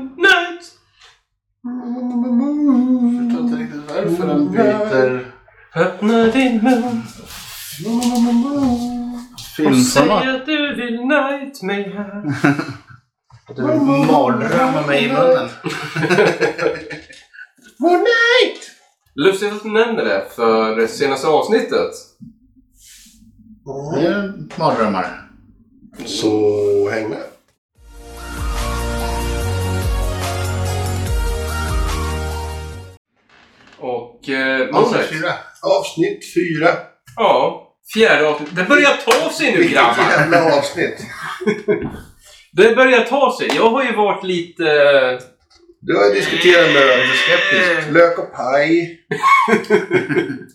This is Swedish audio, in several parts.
Night! Jag förstår inte riktigt varför den byter Öppna din mun och säg filmformat. att du vill night mig här. Du mardrömmer mig i munnen. Good night! Lustigt att du nämner det, för det senaste avsnittet Det är mardrömmar. Så häng med. och... Eh, Avsnitt Moonlight. fyra. Avsnitt fyra. Ja, fjärde avsnittet. Det börjar ta sig nu grabbar! jävla avsnitt. Det börjar ta sig. Jag har ju varit lite... eh, Du har ju diskuterat lön. Skeptisk. Lök och paj.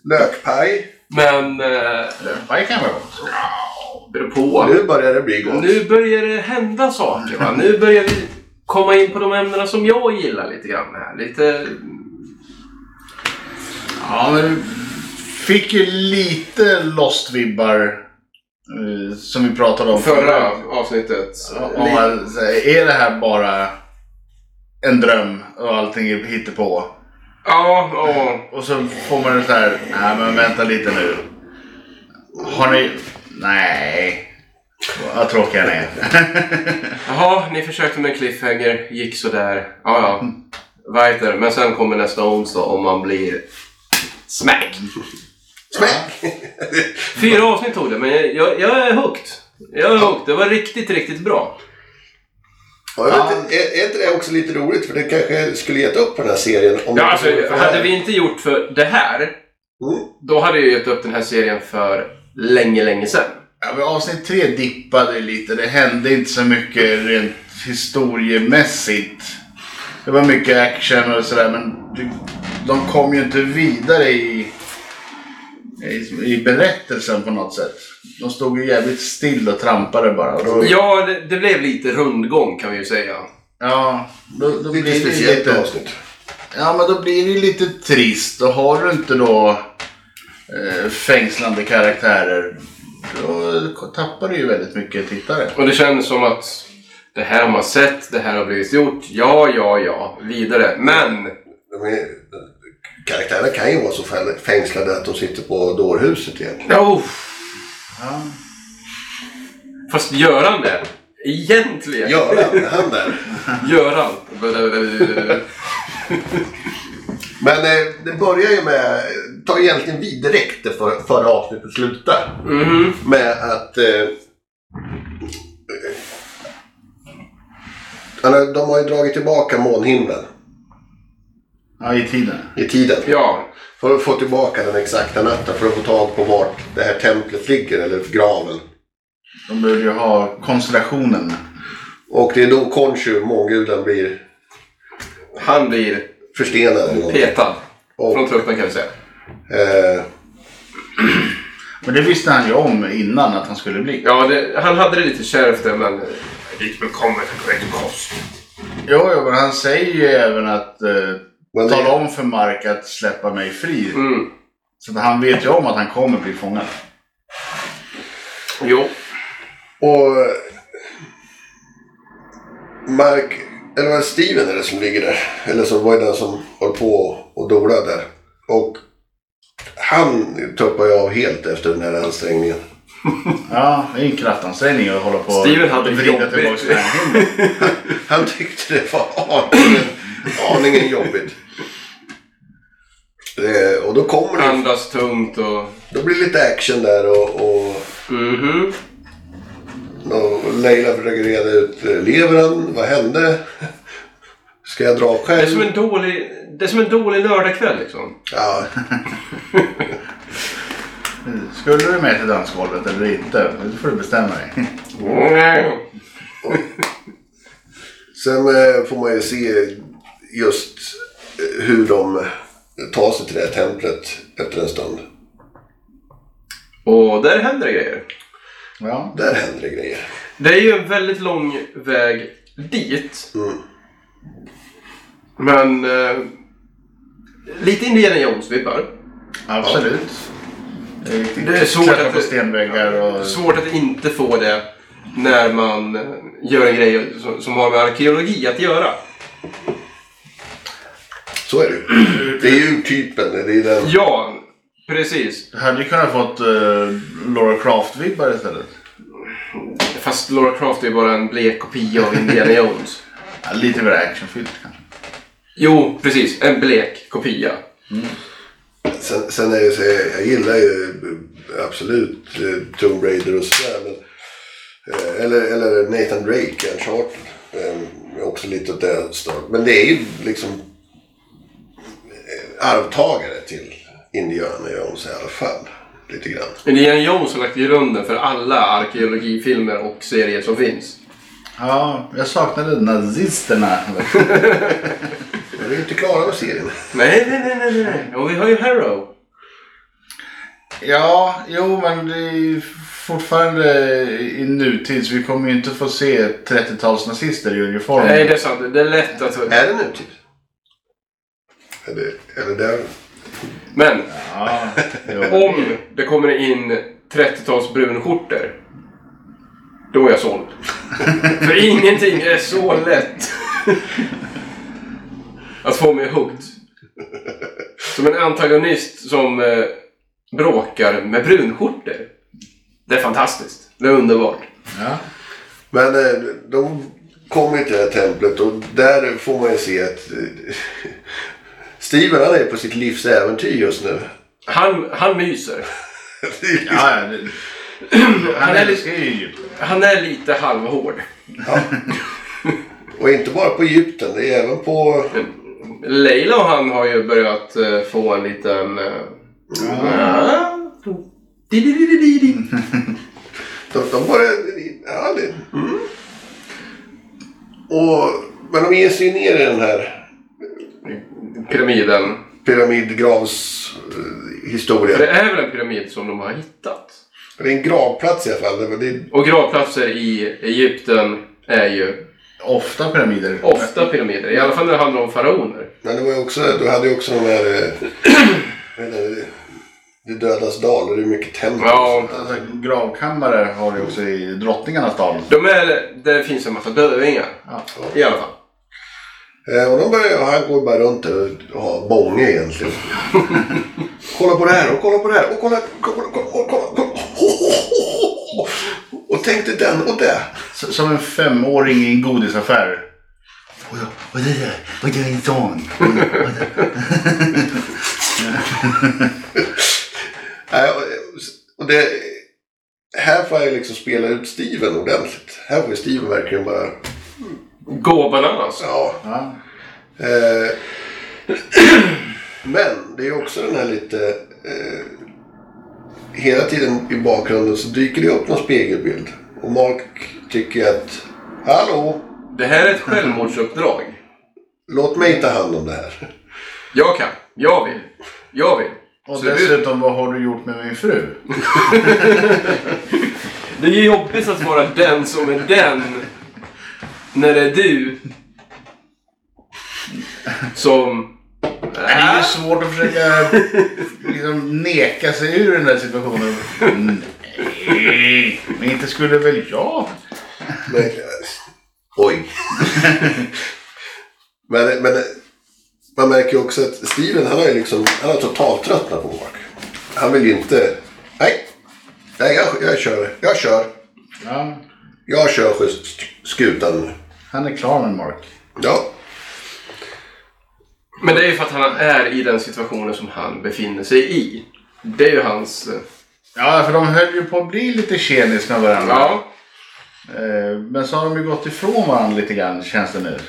Lökpaj. Men... Eh, Lökpaj kan vara gott. beror på. Nu börjar det bli gott. Nu börjar det hända saker. Va? Nu börjar vi komma in på de ämnena som jag gillar lite grann. Här. Lite... Ja, men du fick ju lite Lost-vibbar eh, som vi pratade om avsnittet. Om man, säger, är det här bara en dröm och allting är hittepå? Ja, och... Och så får man det så här, nej men vänta lite nu. Har ni... Nej. Vad tråkiga ni är. Jaha, ni försökte med en cliffhanger, gick sådär. Ja, ja. Weiter. Men sen kommer nästa onsdag om man blir smack. Smack! Fyra avsnitt tog det, men jag, jag, jag är hooked. Jag är hooked. Det var riktigt, riktigt bra. Ja, jag vet inte, är, är inte det också lite roligt? För det kanske skulle gett upp på den här serien. Om Ja, det alltså, inte vore för det här. hade vi inte gjort för det här, Mm. då hade jag gett upp den här serien för länge, länge sedan. Ja, men avsnitt tre dippade lite. Det hände inte så mycket rent historiemässigt. Det var mycket action och sådär men det, de kom ju inte vidare i, i, i berättelsen på något sätt. De stod ju jävligt still och trampade bara. Och då, Ja, det, det blev lite rundgång kan vi ju säga. ja, då, då blir det Lite ju speciellt lite- avsnitt. Ja, men då blir det ju lite trist. Och har du inte då eh, fängslande karaktärer, då tappar du ju väldigt mycket tittare. Och det kändes som att det här har man sett, det här har blivit gjort. Ja, ja, ja. Vidare. Men De är, karaktärerna kan ju vara så fäng- fängslade att de sitter på dårhuset egentligen. Ja, uff. Ja. fast Göran det. Egentligen. Göran, han där. Göran. Men eh, det börjar ju med, tar egentligen vid direkt där för, förra avsnittet slutar. Mhm. med att... Eh, eh, alltså, de har ju dragit tillbaka månhimlen Ja, i tiden. i tiden. Ja. För att få tillbaka den exakta natten. För att få tag på vart det här templet ligger, eller graven. De behöver ju ha konstellationen. Och det är då Konshu, månguden, blir Han blir förstenad. en gång. petad. Från Och, truppen kan vi säga. eh, Men det visste han ju om innan att han skulle bli. Ja, det, han hade det lite kärvt där men... Dit välkommen, korrekt kost. Jo, jo, men han säger ju även att eh, men tala det, om för Mark att släppa mig fri. Mm. Så att han vet ju om att han kommer bli fångad. Jo. och... eh, Mark, eller var det Steven är det som ligger där? Eller som var ju den som höll på och dolade där. Och han tuppar ju av helt efter den här ansträngningen. Ja, det är ju en kraftansträngning att hålla på och Steven hade vrida jobbigt. tillbaka den här himlen. Han tyckte det var aningen, aningen jobbigt. Eh, och då kommer det, Andas tungt och... då blir det lite action där och, och, Mhm. och Leila försöker reda ut, eh, lever han? Vad hände? Ska jag dra Det är som själv? en dålig... Det är som en dålig lördagkväll liksom. Ja, Skulle du med till dansgolvet eller inte? Det får du bestämma dig. Sen eh, får man ju se just eh, hur de eh, tar sig till det här templet efter en stund. Och där händer det grejer. Ja. Där händer det grejer. Det är ju en väldigt lång väg dit. Mm. Men... Eh, lite Indiana Jones-vibbar. Absolut. Det är svårt Klättra att- på stenväggar och... Svårt att inte eh, få det när man gör en grej som, som har med arkeologi att göra. Så är det ju. Mm. Det är ju typen. Det är den. Ja, precis. Du hade ju kunnat fått eh, Laura Croft-vibbar istället. Fast Laura Croft är ju bara en blek kopia av Indiana Jones. Ja, lite mer actionfyllt kanske. Jo, precis. En blek kopia. Sen, sen är det så, jag, jag gillar ju eh, absolut eh, Tomb Raider och sådär. Men, eh, eller, eller Nathan Drake, Uncharted. Eh, också lite åt det start. Men det är ju liksom eh, arvtagare till Indiana Jones i alla fall. Lite grann. Indiana Jones har lagt grunden för alla arkeologifilmer och serier som finns. Ja, jag saknade nazisterna. Men vi är inte klara med serien. Nej, nej, nej, nej, nej. Och vi har ju Harrow. ja, jo men det är ju fortfarande i nutid så vi kommer ju inte få se 30-tals-nazister i uniform. Nej, det är sant. Det är lätt att... Är det nutid? Är det, är det där? Men Ja, jo. om det kommer in 30-tals brunskjortor. Då är jag såld. För ingenting är så lätt. Att få mig huggt. Som en antagonist som eh, bråkar med brunskjortor. Det är fantastiskt. Det är underbart. ja. Men eh, de kommer ju till det här templet och där får man ju se att eh, Steven han är på sitt livs äventyr just nu. Han, han myser. ja, ja det, han Han är älskar ju Egypten. Han är lite halvhård. Och inte bara på Egypten, det är även på... Leila och han har ju börjat eh, få en liten... eh, Ah. Di-di-di-di-di. De, de bara... Ja, det, mm. och, men de ger sig ju ner i den här Pyramiden. pyramidgravshistorien. Det är väl en pyramid som de har hittat? Det är en gravplats i alla fall. Det, det, Och gravplatser i Egypten är ju Ofta pyramider. ofta pyramider. I alla fall när det handlar om faraoner. Men det var ju också, du hade ju också de här... eh, vad heter det? Det dödas dal och det är mycket tempel. Ja, Alltså, gravkammare har vi också i drottningarnas dal. de är, där finns en massa dövingar. Ja. I alla fall. Eh, Och de börjar, och han går ju bara runt där och har bånge egentligen. kolla på det här och kolla på det här och kolla, kolla, kolla, kolla, kolla. kolla. Och tänk dig den och det. S- Som en femåring i en godisaffär. Vad är det? Vad är en sån? Nej, och- Och det... Här får jag liksom spela ut Steven ordentligt. Här får ju Steven verkligen bara... Gå bananas. Ja, Ja. Eh, Men det är också den här lite... Eh, hela tiden i bakgrunden så dyker det upp någon spegelbild. Och Mark tycker att... Hallå! Det här är ett självmordsuppdrag. Låt mig ta hand om det här. Jag kan. Jag vill. Jag vill. Och Så det- dessutom, vad har du gjort med min fru? Det är ju jobbigt att vara den som är den. När det är du. Som... Det är ju svårt att försöka liksom, neka sig ur den där situationen. Nej, men inte skulle väl jag? Men, eh, oj. men, men eh, man märker ju också att Steven han har ju liksom... Han har totalt tröttnat på Mark. Han vill ju inte... Nej! Nej, jag, jag kör. Jag kör. Ja, Jag kör just skutan nu. han är klar med Mark. Ja. Men det är ju för att han är i den situationen som han befinner sig i. Det är ju hans... eh, Ja, för de höll ju på att bli lite tjenis med varandra. Ja. Eh, Men så har de ju gått ifrån varandra lite grann känns det nu.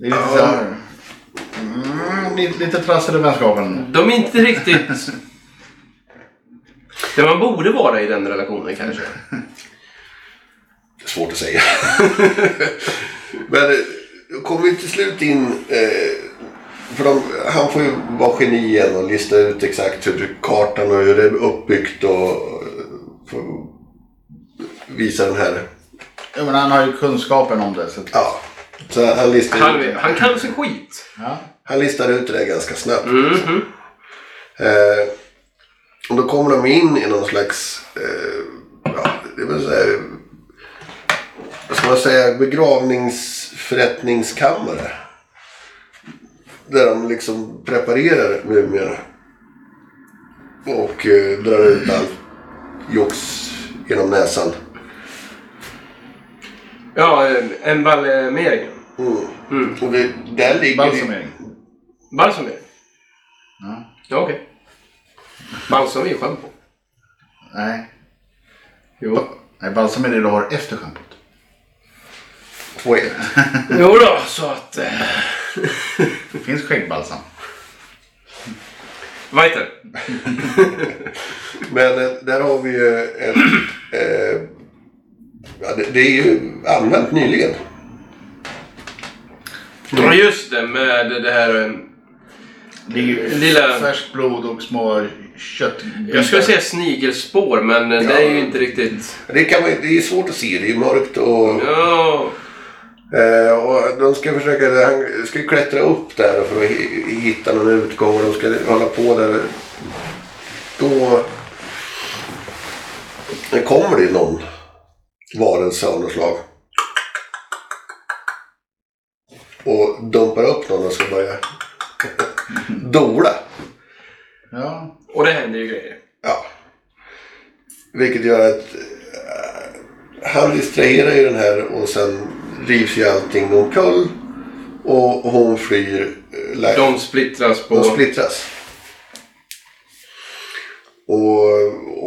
Det är lite, Ja. så här, mm, lite, lite trassel i vänskapen. De är inte riktigt... Där man borde vara i den relationen kanske. Svårt att säga. Men eh, kommer vi till slut in... Eh, för de, han får ju vara geni igen och lista ut exakt hur kartan och hur det är uppbyggt och eh, för- visa den här... Ja, men han har ju kunskapen om det. Så att, Ja. Så han listar, Han, ut, han kan sin skit. ja. han listar ut det där ganska snabbt. liksom. Mhm. Eh, och då kommer de in i någon slags... Eh, ja, det vill säga... Vad ska man säga? Begravnings... förrättningskammare. Där de liksom preparerar mumier. Och eh, drar ut allt jox genom näsan. Ja, en- en balsamering. Mm. Och det, där ligger det, Balsamering. Balsamering? Ja. Ja, okej. Balsam är ju schampo. Nej. Jo. Nej, balsam är det du har efter schampot. två E. ett. jo då, så att... eh, Det finns skäggbalsam. Weiter. Men eh, där har vi ju ett... Eh, ja, det, det är ju använt nyligen. Ja, just det. Med det här... eh, Det är ju Lilla- färskt blod och små köttbitar. Jag skulle säga snigelspår, men eh, det är ju inte riktigt... Det, kan man, ju- det är svårt att se, det är ju mörkt och... Ja. Eh, och de ska försöka, han ska ju klättra upp där för att hi- hitta någon utgång och de ska hålla på där. Då det kommer det ju någon varelse av något slag. Och dumpar upp någon och ska börja dola. Ja. Och det händer ju grejer. Ja. Vilket gör att eh, han distraherar ju den här och sen rivs ju allting omkull. Och hon flyr. eh, lä- De splittras på... de splittras. Och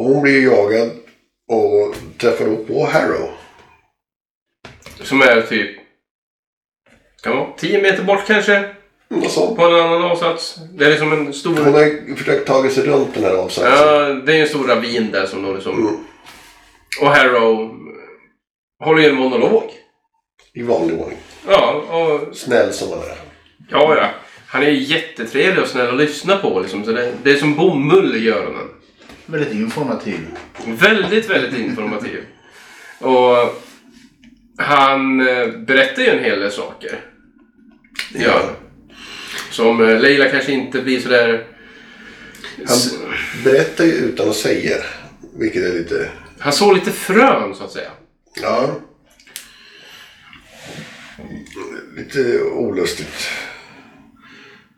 hon blir ju jagad och träffar då på Harrow. Som är typ... Kan vara 10 meter bort kanske. Och så. På en annan avsats. Det är liksom en Hon stor... har ju försökt ta sig runt den här avsatsen. Ja, det är ju en stor ravin där som de liksom... Mm, Och Harrow håller ju en monolog. I vanlig ordning. Ja, och... Snäll som han är. Ja, ja. Han är ju jättetrevlig och snäll att lyssna på liksom. Så det, det är som bomull i öronen. Väldigt informativ. Väldigt, väldigt informativ. Och han eh, berättar ju en hel del saker. Ja. Som eh, Leila kanske inte blir sådär... Han berättar ju utan att säga. Vilket är lite... Han såg lite frön så att säga. Ja. Lite olustigt.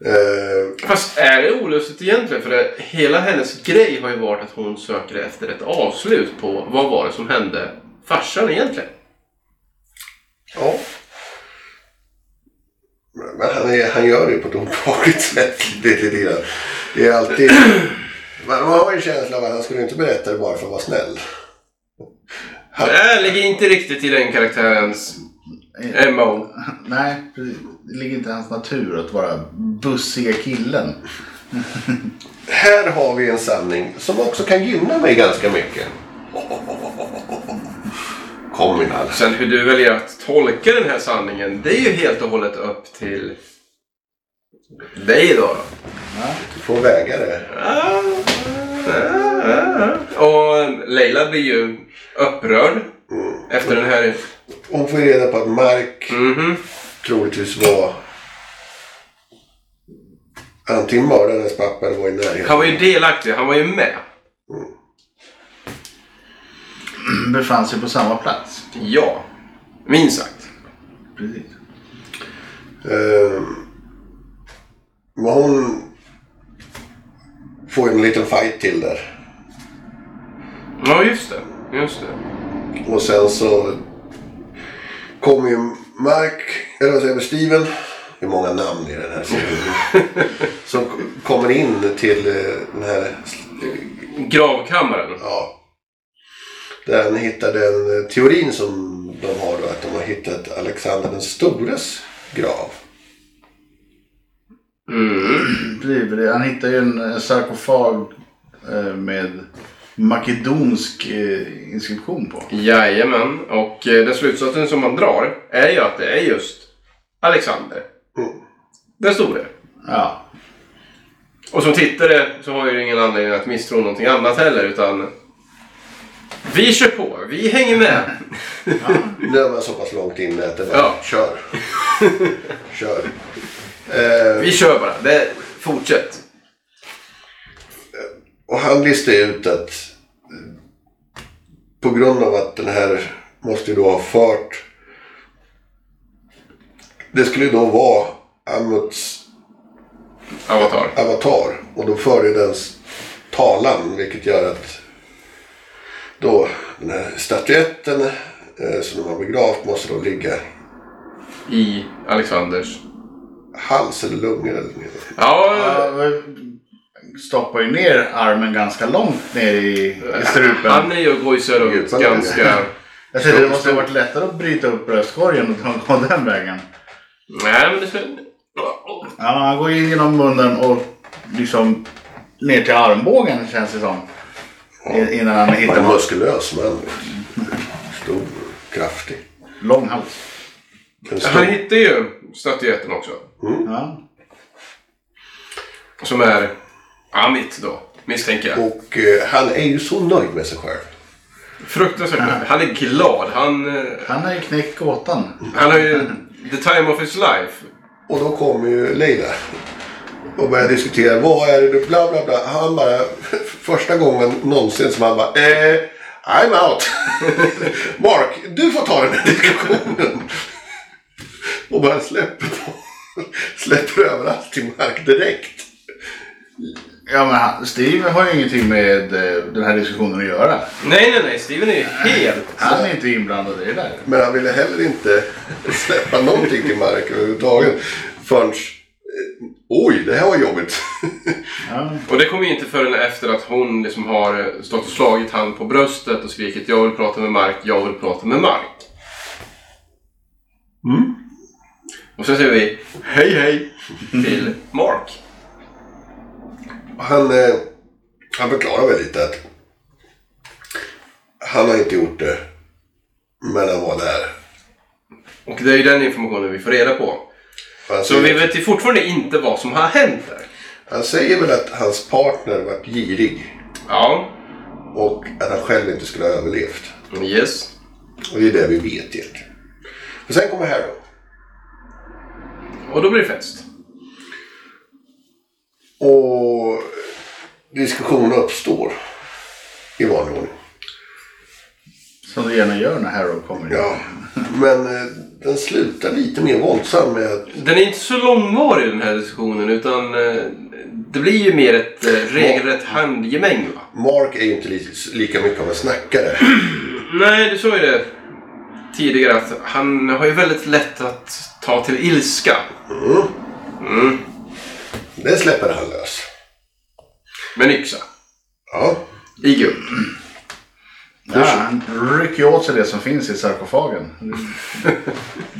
Eh, Fast är det olustigt egentligen? För det, hela hennes grej har ju varit att hon söker efter ett avslut på vad var det som hände farsan egentligen? ja. Men han, är, han gör det ju på ett obehagligt sätt. Lite, lite grann. Det är alltid... Man, man har ju en känsla av att han skulle inte berätta det bara för att vara snäll. Han- Det ligger inte riktigt i den karaktärens MO. Nej, precis. det ligger inte i hans natur att vara bussiga killen. Här har vi en sanning som också kan gynna mig ganska mycket. Kom min alla. Sen hur du väljer att tolka den här sanningen, det är ju helt och hållet upp till dig då. Du får väga det. Och Leila blir ju upprörd efter den här... Hon får ju reda på att Mark Mhm. troligtvis var antingen mördade hennes pappa eller var i närheten. Han var ju delaktig, han var ju med. Befann sig på samma plats. Ja, minst sagt. Precis. Ehm, Men hon får en liten fight till där. Ja, just det. Just det. Och sen så kommer ju Mark, eller vad säger jag, Steven. Det är många namn i den här serien. som kommer in till eh, den här Gravkammaren. Ja. Där han hittade den teorin som de har då att de har hittat Alexander den stores grav. Mm. Precis, för det- Han hittar ju en en sarkofag eh, med makedonsk eh, inskription på. Jajamän. Och eh, den slutsatsen som man drar är ju att det är just Alexander. Mm. Den store. Ja, Och som tittare så har jag ju ingen anledning att misstro någonting annat heller utan vi kör på, vi hänger med. Nu är man så pass långt inne att det bara, Ja. kör. kör. Eh, Vi kör bara, det, fortsätt. och han listade ut att eh, på grund av att den här måste ju då ha fört Det skulle ju då vara Amuts Avatar. avatar. Och då för ju dens talan. Vilket gör att då den här statyetten eh, som de har begravt måste då ligga I Alexanders. hals eller lungor eller något. Ja, Ja, men Stoppar ju ner armen ganska långt ner i, i strupen. han är ju gojsar och Gud, vad ganska... Jag tänkte det måste ha varit lättare att bryta upp bröstkorgen och ta- gå den vägen. Nej, men det ser... Ja, han går in genom munnen och liksom ner till armbågen känns det som. I- Innan han hittar Han är någon muskulös men stor och kraftig. lång hals. En Han stor, hittar ju statyetten också. Ja. Som är Amit då, misstänker jag. och eh, han är ju så nöjd med sig själv. Fruktansvärt nöjd. Han är glad. Han, eh, Han har ju knäckt gåtan. han har ju the time of his life. Och då kommer ju Leila och börjar diskutera vad är det du bla bla bla. Han bara första gången någonsin som han bara eh, I'm out. Mark, du får ta den här diskussionen. och bara släpper på. Släpper över allt till Mark direkt. Ja, men han, Steve har ju ingenting med eh, den här diskussionen att göra. Nej, nej, nej. Steven är ju helt... Han är inte inblandad i det där. Men han ville heller inte släppa någonting till Mark överhuvudtaget. Förrän eh, oj, det här var jobbigt. Ja. Och det kommer ju inte förrän efter att hon liksom har eh, stått och slagit han på bröstet och skrikit jag vill prata med Mark, jag vill prata med Mark. Och sen säger vi hej hej till Mark. Han, eh, han förklarar väl lite att han har inte gjort det. Men han var där. Och det är ju den informationen vi får reda på. Han Så vi säger, vet ju fortfarande inte vad som har hänt där. han säger väl att hans partner var girig. Ja, Och att han själv inte skulle ha överlevt. yes. Och det är det vi vet egentligen. Och sen kommer Harrow. Och då blir det fest. Och diskussion uppstår. I vanlig ordning. Som det gärna gör när Harrow kommer. Ja. Men eh, den slutar lite mer våldsam med att Den är inte så långvarig den här diskussionen utan eh, det blir ju mer ett eh, regelrätt handgemäng va? Mark är ju inte li- lika mycket av en snackare. Nej, du sa ju det tidigare att han har ju väldigt lätt att ta till ilska. Det släpper han lös. Med en yxa. Ja. I guld. Ja, han rycker ju åt sig det som finns i sarkofagen.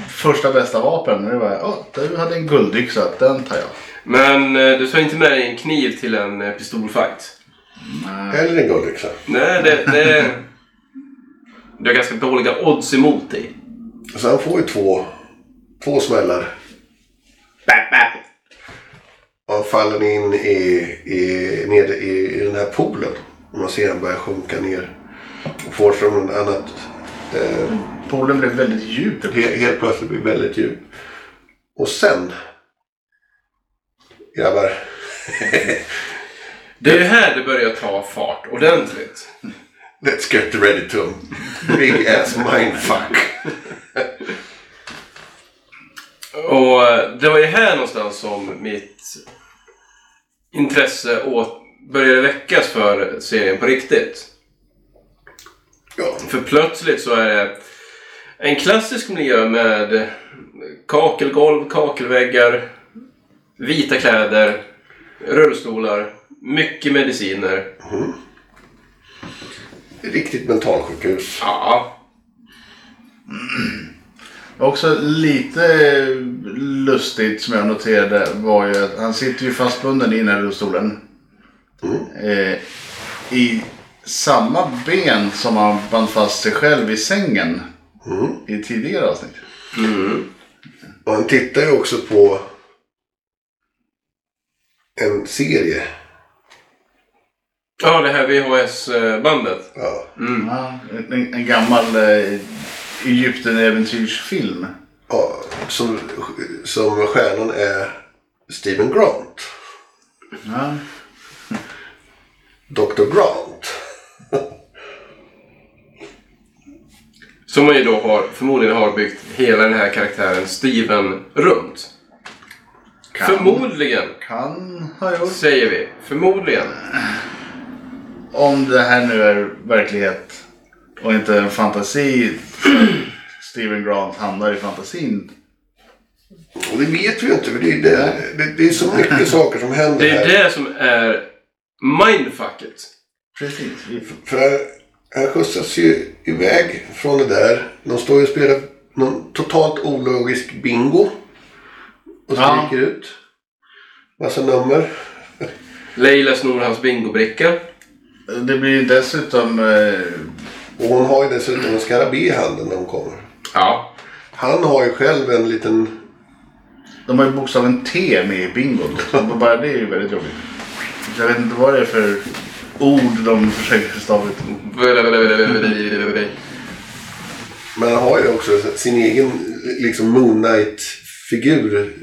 Första bästa vapen. Nu bara, åh, du hade en guldyxa, den tar jag. Men eh, du tar inte med dig en kniv till en eh, pistolfight. Eller en guldyxa. Nej, det... det du har ganska dåliga odds emot dig. Så han får ju två, två smällar. Bap, bap. Och han faller in i, i, ner i, i den här poolen. Och man ser han börjar sjunka ner. Och får från en annat eh, Poolen blev väldigt djup. he, helt plötsligt blir väldigt djup. Och sen. Grabbar. Det är ju här det börjar ta fart ordentligt. Let's get ready to. Big ass mindfuck. Och eh, det var ju här någonstans som mitt intresse åt, började väckas för serien på riktigt. Ja. För plötsligt så är det en klassisk miljö med kakelgolv, kakelväggar, vita kläder, rullstolar, mycket mediciner. Riktigt mentalsjukhus. Ja, Också lite eh, lustigt som jag noterade var ju att han sitter ju fastbunden i den här rullstolen. Eh, I samma ben som han band fast sig själv i sängen. I tidigare avsnitt. Och han tittar ju också på en serie. ja det här VHS-bandet. Ja. Ja, en, en gammal eh, Egypten-äventyrsfilm. Ja, som, som stjärnan är Steven Grant. Ja. Dr. Grant. Som man ju då har, förmodligen har byggt hela den här karaktären Steven runt. Kan, Förmodligen, kan ha gjort. säger vi. Förmodligen. Om det här nu är verklighet och inte en fantasi. Steven Grant hamnar i fantasin. Och det vet vi ju inte. För det, är det, det, det är så mycket saker som händer Det är här. det som är mindfucket. Precis. Vi För han, han skjutsas ju iväg från det där. De står ju och spelar någon totalt ologisk bingo. Och Ja. skriker ut. Massa nummer. Leila snor hans bingobricka. Det blir ju dessutom... Eh, Och hon har ju dessutom en skarabé i handen när hon kommer. Ja. Han har ju själv en liten... de har ju bokstaven T med i bingon. Så bara det är ju väldigt jobbigt. Så Jag vet inte vad det är för ord de försöker stava ut. Men han har ju också sin egen liksom Moon Knight-figur.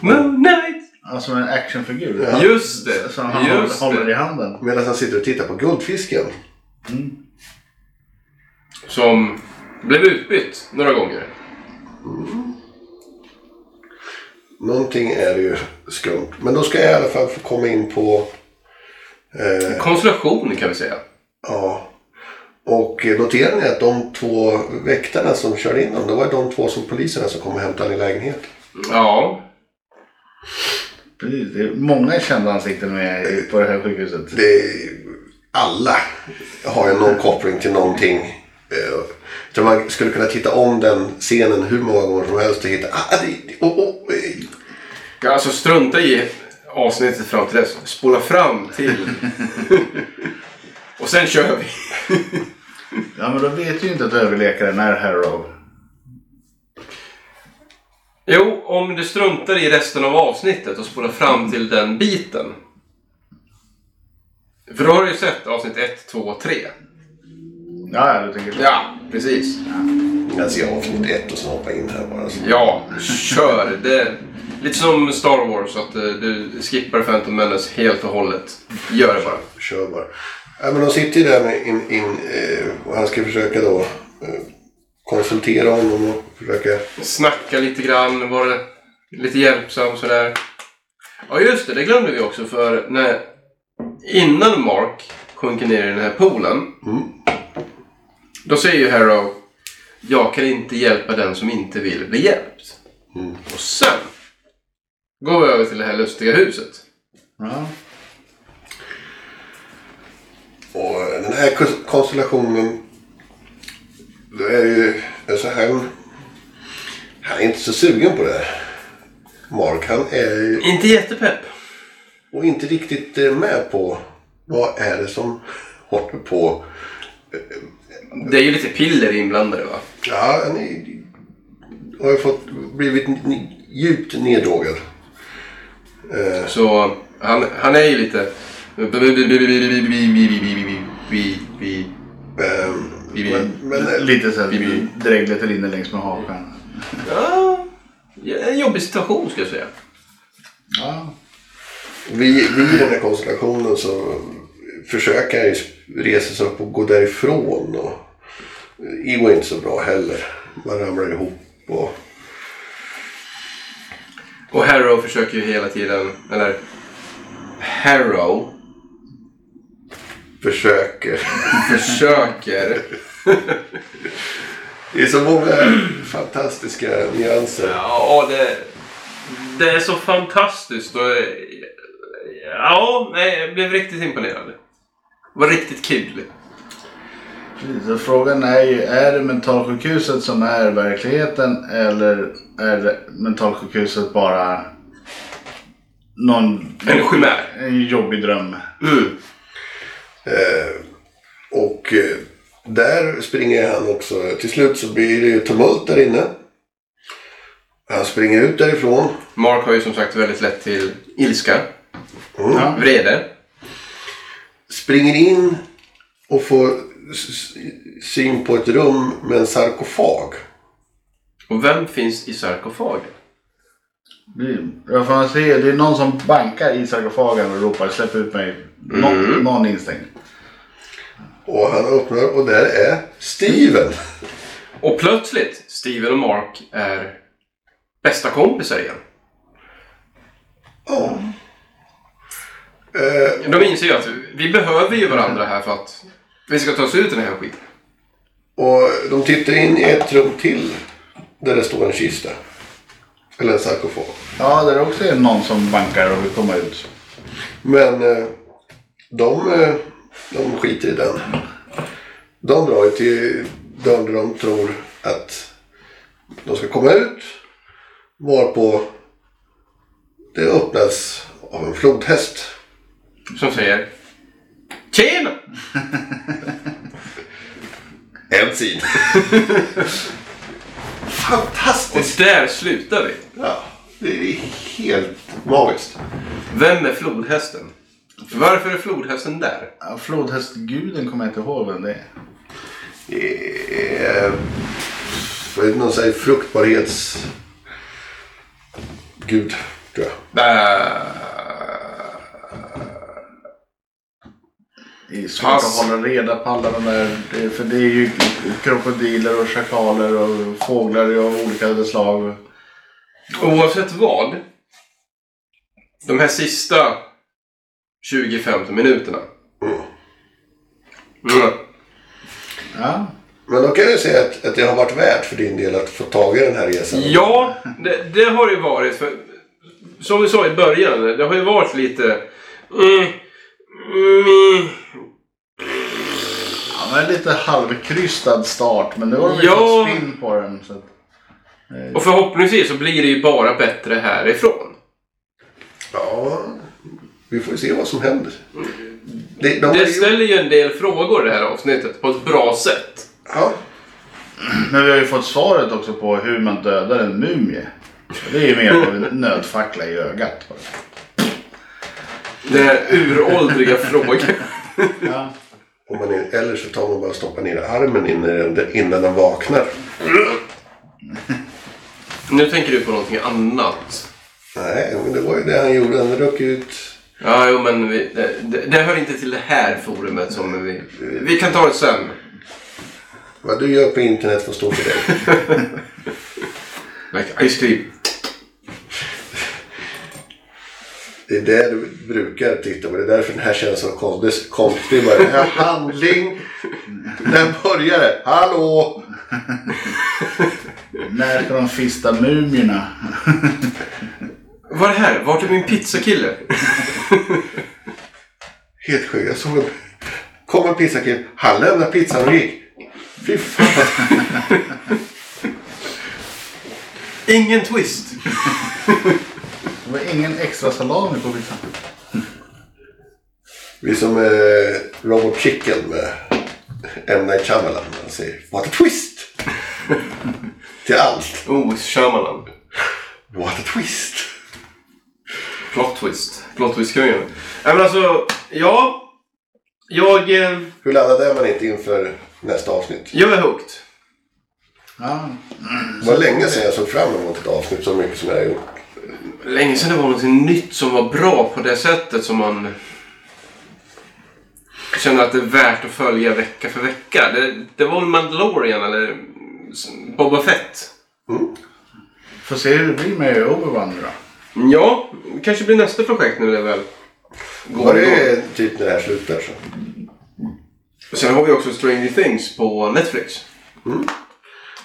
Moon Knight. Alltså en actionfigur. Just det. Som han Just håller det. i handen. Medan han sitter och tittar på guldfisken. Som blev utbytt några gånger. Någonting är det ju skumt. Men då ska jag i alla fall få komma in på... Eh, Konstellation kan vi säga. Mm. Ja. Och eh, noterar ni att de två väktarna som körde in dem, det var de två som poliserna som kom och hämtade i lägenhet. Ja. Precis. Det är många kända ansikten med i- på det här sjukhuset. Det, alla har ju någon koppling till någonting. Eh, Så man skulle kunna titta om den scenen hur många gånger som helst och hitta... Ah, det, det- oh, oh, eh, Alltså strunta i avsnittet fram till dess. Spola fram till... Och sen kör vi. Ja men då vet ju inte att överläkaren är Harrow. Jo, om du struntar i resten av avsnittet och spolar fram till den biten. För då har du ju sett avsnitt 1, 2 och 3. Ja, ja, du tänker så. Ja, precis. jag ser avsnitt ett och sen hoppa in här bara. Så. Ja, kör. Det är lite som Star Wars, att eh, du skippar Phantom Menace helt och hållet. Gör det bara. Kör bara. Ja, men de sitter ju där med in, in, eh, och han ska försöka då eh, konsultera honom och försöka... Snacka lite grann, vara lite hjälpsam sådär. Ja, just det. Det glömde vi också, för när, innan Mark sjunker ner i den här poolen. Mm. Då säger ju Harrow, jag kan inte hjälpa den som inte vill bli hjälpt. Och sen går vi över till det här lustiga huset. Ja. Och den här kos- konstellationen. Det är ju... Alltså han, han är inte så sugen på det. här. Mark han är ju Inte jättepepp. och inte riktigt eh, med på vad är det som håller på. Det är ju lite piller inblandade va? Ja, han är, har ju fått, blivit n- djupt neddrogad. Eh, Så han, han är ju lite... ehm, men Lite så Vi- här dreglet rinner längs med hakan. Ja, en jobbig situation ska jag säga. Ja. Vid, vid den här konstellationen så försöker han ju resa sig upp och gå därifrån. Och det går inte så bra heller. Man ramlar ihop. Och, Och Harrow försöker ju hela tiden... Eller... Harrow försöker. försöker... Det är så många fantastiska nyanser. Ja, det, det är så fantastiskt. Och, ja, nej, jag blev riktigt imponerad. Det var riktigt kul. Precis. Så Frågan är ju, är det mentalsjukhuset som är verkligheten eller är det mentalsjukhuset bara någon En chimär. en jobbig dröm? Mm. Eh, Och eh, där springer han också. Till slut så blir det ju tumult där inne. Han springer ut därifrån. Mark har ju som sagt väldigt lätt till ilska, Mm. Ja. vrede. springer in och får s- s- syn på ett rum med en sarkofag. Och vem finns i sarkofagen? Det- Jag får se, det är någon som bankar i sarkofagen och ropar släpp ut mig. Nå, Någon instängd. Och han öppnar och där är Steven. Och plötsligt, Steven och Mark är bästa kompisar igen. Ja. Eh, De inser ju att vi behöver ju varandra här för att vi ska ta oss ut ur den här skiten. och de tittar in i ett rum till. Där det står en kista. Eller en sarkofag. Ja, där också är någon som bankar och vill komma ut. Men eh, de, eh, de skiter i den. De drar ju till dörren där de tror att de ska komma ut. Varpå det öppnas av en flodhäst. Som säger Tjena! En sida. Och Fantastiskt! där slutar vi. Ja, det är helt magiskt. Vem är flodhästen? Varför är flodhästen där? Ja, Flodhästguden kommer jag inte ihåg vem det är. Det är, vad är det någon säger? Fruktbarhets... Gud, tror jag. Äh, Det är svårt Pass. att hålla reda på alla de där. det- För det är ju krokodiler och schakaler och fåglar av olika slag. Oavsett vad. De här sista 20-50 minuterna. Mm. Mm. Ja. Men då kan jag ju säga att, att det har varit värt för din del att få tag i den här resan. Ja, det, det har det varit. För, som vi sa i början, det har ju varit lite... Mm, mm, Ja, men lite halvkrystad start. Men nu har de ju Ja. fått spinn på den. Så att, och förhoppningsvis så blir det ju bara bättre härifrån. Ja, vi får ju se vad som händer. Det, de har Det ju, ställer ju en del frågor det här avsnittet på ett bra sätt. ja, Men vi har ju fått svaret också på hur man dödar en mumie. Det är ju mer av en nödfackla i ögat. bara. Den här uråldriga frågan. Ja. om man är, eller så tar man bara och stoppar ner armen innan, den- innan den vaknar. Nu tänker du på någonting annat. Nej, men det var ju det han gjorde. Han rök ut. Ja, jo, men vi, det, det, det hör inte till det här forumet som vi... Vi kan ta det sen. Vad du gör på internet får stå för dig. Like ice cream. Det är det du brukar titta på. Det är därför den här känns så konstig. konstig bara, den här handling. När börjar det? Hallå! När ska de fista mumierna? Vad är det här? Vart är min pizzakille? Helt sjukt. Jag såg en... Kom en pizzakille. Han lämnade pizzan och gick. Fy fan. Ingen twist. Det var ingen extra salami på pizzan. Vi är som eh, Robot Chicken med M. Night Shyamalan. Han säger What a twist! Till allt. Oh, Shyamalan. What a twist! Plot twist. Plot twist-kungen. Nej, men alltså, ja. Jag, eh, Hur laddad är man inte inför nästa avsnitt? jag är hooked. Ja. Det var länge sedan jag såg fram emot ett avsnitt så mycket som jag har gjort. Länge sedan det var någonting nytt som var bra på det sättet som man känner att det är värt att följa vecka för vecka. Det, det var väl Mandalorian eller Boba Fett. Får se hur det blir med Obi-Wan nu då. Ja, det kanske blir nästa projekt nu det väl går Var igång. det typ när det här slutar så? Sen har vi också Stranger Things på Netflix.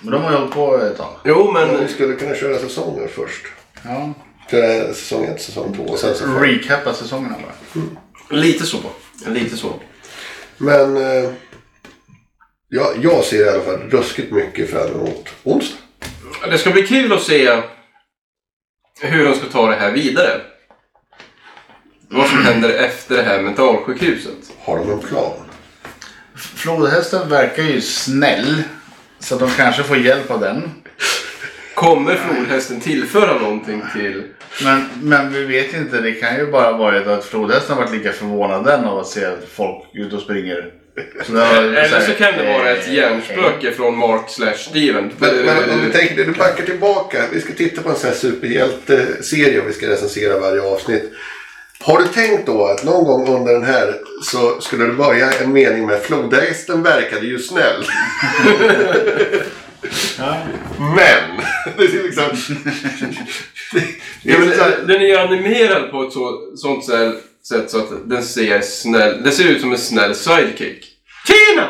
Men de har ju hållit på ett tag. Jo, Om vi men skulle kunna köra säsonger först. Ja. Köra säsong 1, säsong 2 och sen så fem. Recappa säsongerna bara. lite så. Lite så. Men eh, jag, jag ser i alla fall ruskigt mycket fram emot onsdag. Det ska bli kul att se hur de ska ta det här vidare. Vad som händer efter det här mentalsjukhuset. Har de en plan? Flodhästen verkar ju snäll. Så att de kanske får hjälp av den. Kommer flodhästen tillföra någonting till... Men, men vi vet inte. Det kan ju bara varit att flodhästen har varit lika förvånad den av att se folk ute och springer. Så det har- Eller så kan det vara ett eh, hjärnspöke från Mark slash Steven. Men, men om du tänker dig, du backar tillbaka. Vi ska titta på en sån här superhjälteserie och vi ska recensera varje avsnitt. Har du tänkt då att någon gång under den här så skulle du börja en mening med flodhästen verkade ju snäll. Men! Det är liksom... det Ja, är men väl så här- den- den är ju animerad på ett så, sånt så här sätt så att den ser snäll... Den ser ut som en snäll sidekick. Tina!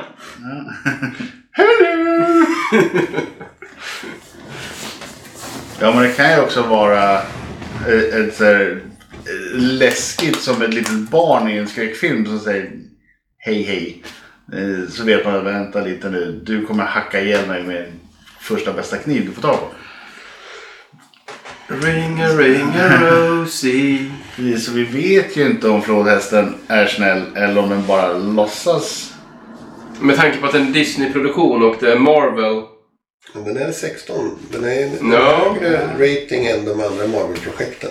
Hello! ja, men det kan ju också vara eh, ett så här, eh, läskigt som ett litet barn i en skräckfilm som säger hej hej. Eh, Så vet man, vänta lite nu, du kommer hacka ihjäl mig med första bästa kniv du får tag på. Ring a ring a Rosie. Precis, Eh, Så vi vet ju inte om flodhästen är snäll eller om den bara låtsas. Med tanke på att det är en Disney-produktion och det är Marvel. Men Den är 16. Den är en Ja. högre rating än de andra Marvel-projekten.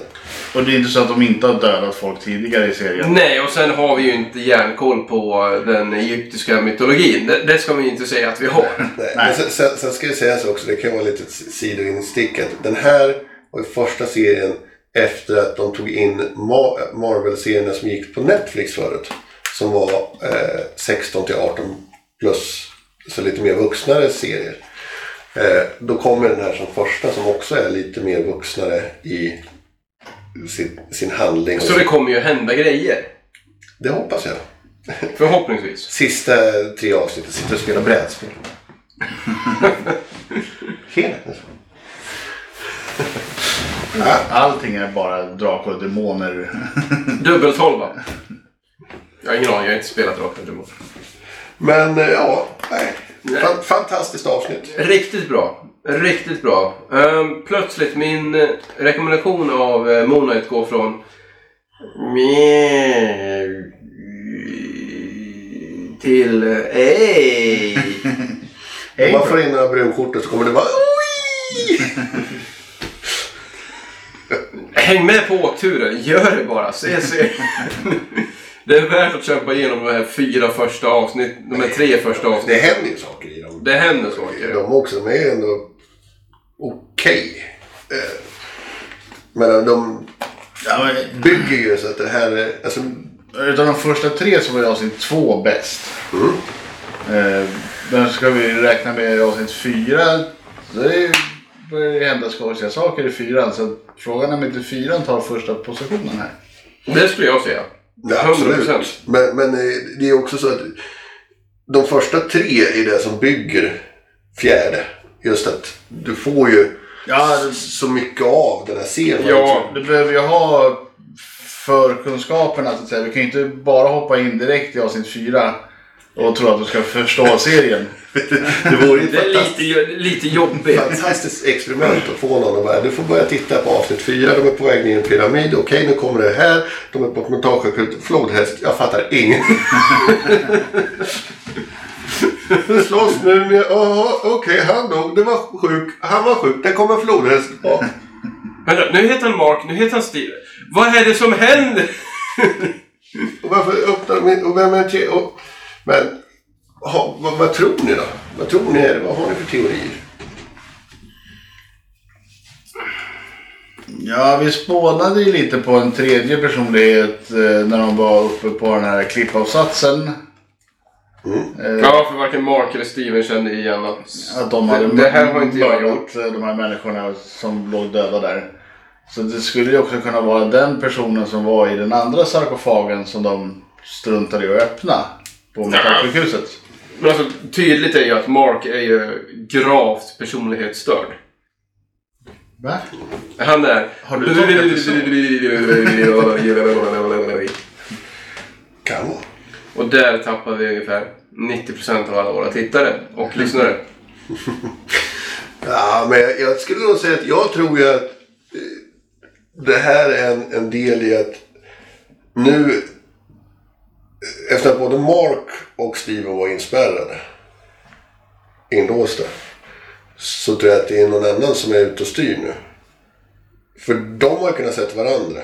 Och det är inte så att de inte har dödat folk tidigare i serien. Nej, och sen har vi ju inte järnkoll på den egyptiska mytologin. Det, det ska vi ju inte säga att vi har. Nej. Nej. Men sen, sen, sen ska det sägas också, det kan vara lite ett sidoinstick, att den här var ju första serien efter att de tog in Ma- Marvel-serierna som gick på Netflix förut. Som var eh, 16 till 18 plus, så lite mer vuxnare serier. Eh, då kommer den här som första som också är lite mer vuxnare i sin, sin handling. och Så det kommer ju hända grejer. det hoppas jag. Förhoppningsvis. Sista tre avsnitten sitter och spelar brädspel. Helt. Allting är bara drakar och demoner. Dubbeltolva. Jag har ingen aning, jag har inte spelat rakt efter. Men eh, ja, nej. Fan- fantastiskt avsnitt. Riktigt bra. Riktigt bra. Ehm, plötsligt, min eh, rekommendation av uh, Moonlight går från mjau till eh, ej. Om Hej, man får in några brunskjortor så kommer det vara oj! Häng med på åkturen, gör det bara. Se, se. det är värt att kämpa igenom de här fyra första avsnitten, de här tre första Det avsnitten. händer ju saker i dem. Det händer saker. De också, de är ju ändå okej. Eh, Men de Ja, men, bygger ju så att det här är... Alltså, Utav de första tre så var ju avsnitt två bäst. Eh, men ska vi räkna med avsnitt fyra så är det ju- börjar det hända skojiga saker i fyran. Så frågan är om inte fyran tar första positionen här. Det skulle jag säga. Ja, absolut. 100%. Men, men eh, det är också så att de första tre är det som bygger fjärde. Just att du får ju Ja, s- så mycket av den här serien. Ja. Du behöver ju ha förkunskaperna så att säga. Du kan ju inte bara hoppa in direkt i avsnitt fyra och tro att du ska förstå serien. Det vore ju ett Det är fantastiskt, lite, jo- lite jobbigt. fantastiskt experiment att få någon att bara, du får börja titta på avsnitt fyra. De är på väg ner i en pyramid. Okej, nu kommer det här. De är på ett montageakut. Flodhäst. Jag fattar ingenting. Nu slåss nu med... Jaha, okej, han dog. Det var sjuk. Han var sjuk. Det kommer en flodhäst. Ja. Vänta, nu heter han Mark, nu heter han Steve. Vad är det som händer? Och varför öppnar min... Och vem är te- och, Men ha, vad, vad tror ni då? Vad tror ni? är det? Vad har ni för teorier? Ja, vi spånade ju lite på en tredje personlighet eh, när de var uppe på den här klippavsatsen. Ja, för varken Mark eller Steven kände igen att... Att de hade det, det här har inte jag gjort. mördat, eh, de här människorna som låg döda där. Så det skulle ju också kunna vara den personen som var i den andra sarkofagen som de struntade i att öppna på mentalsjukhuset. Men alltså, tydligt är ju att Mark är ju gravt personlighetsstörd. Va? Han är... Har du tolkat det Kan vara. Och där tappar vi ungefär 90% av alla våra tittare och lyssnare. Ja, men jag, jag skulle nog säga att jag tror ju att eh, det här är en, en del i att nu eh, efter att både Mark och Steven var inspärrade, inlåsta, så tror jag att det är någon annan som är ute och styr nu. För de har ju kunnat sett varandra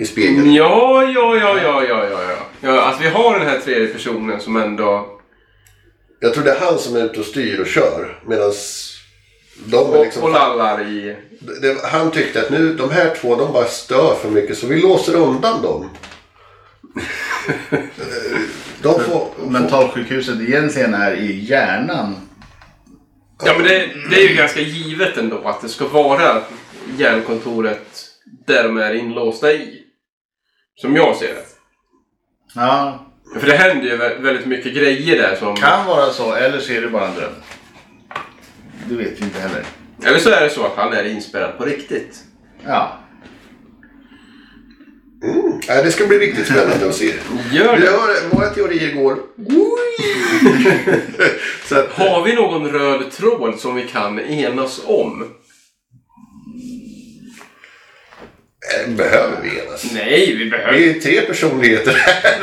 i spegeln. Ja, ja, ja, ja, ja, ja, ja. ja att vi har den här tredje personen som ändå... Jag tror det är han som är ute och styr och kör medan de är Och, liksom... och lallar i... Det- det, han tyckte att nu, de här två de bara stör för mycket så vi låser undan dem. de får... Mentalsjukhuset egentligen är i hjärnan Ja, men det, det är ju ganska givet ändå att det ska vara järnkontoret där de är inlåsta i. Som jag ser det. Ja, För det händer ju vä- väldigt mycket grejer där som... kan vara så, eller så är det bara en dröm. Det vet vi inte heller. Eller så är det så att han är inspärrad på riktigt. Ja. Mm. Ja, det ska bli riktigt spännande att se. Gör Vi det! har, våra teorier går. Så att, Har vi någon röd tråd som vi kan enas om? eh, behöver vi enas? Nej, vi behöver Vi är tre personligheter här.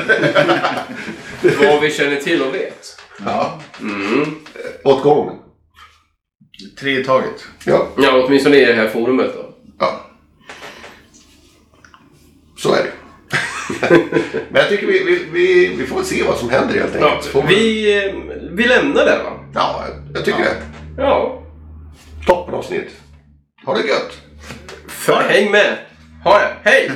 vad vi känner till och vet. Ja. Mm. Åt gången. Tre i taget. Ja, Ja, åtminstone i det här forumet då. ja. Så är det. Men jag tycker vi, vi, vi, vi får väl se vad som händer helt enkelt. Ja, Så får vi, eh, vi lämnar det va? ja jag tycker det. Ja. Toppenavsnitt. Ha det gött. För häng med! Ha det! Hej!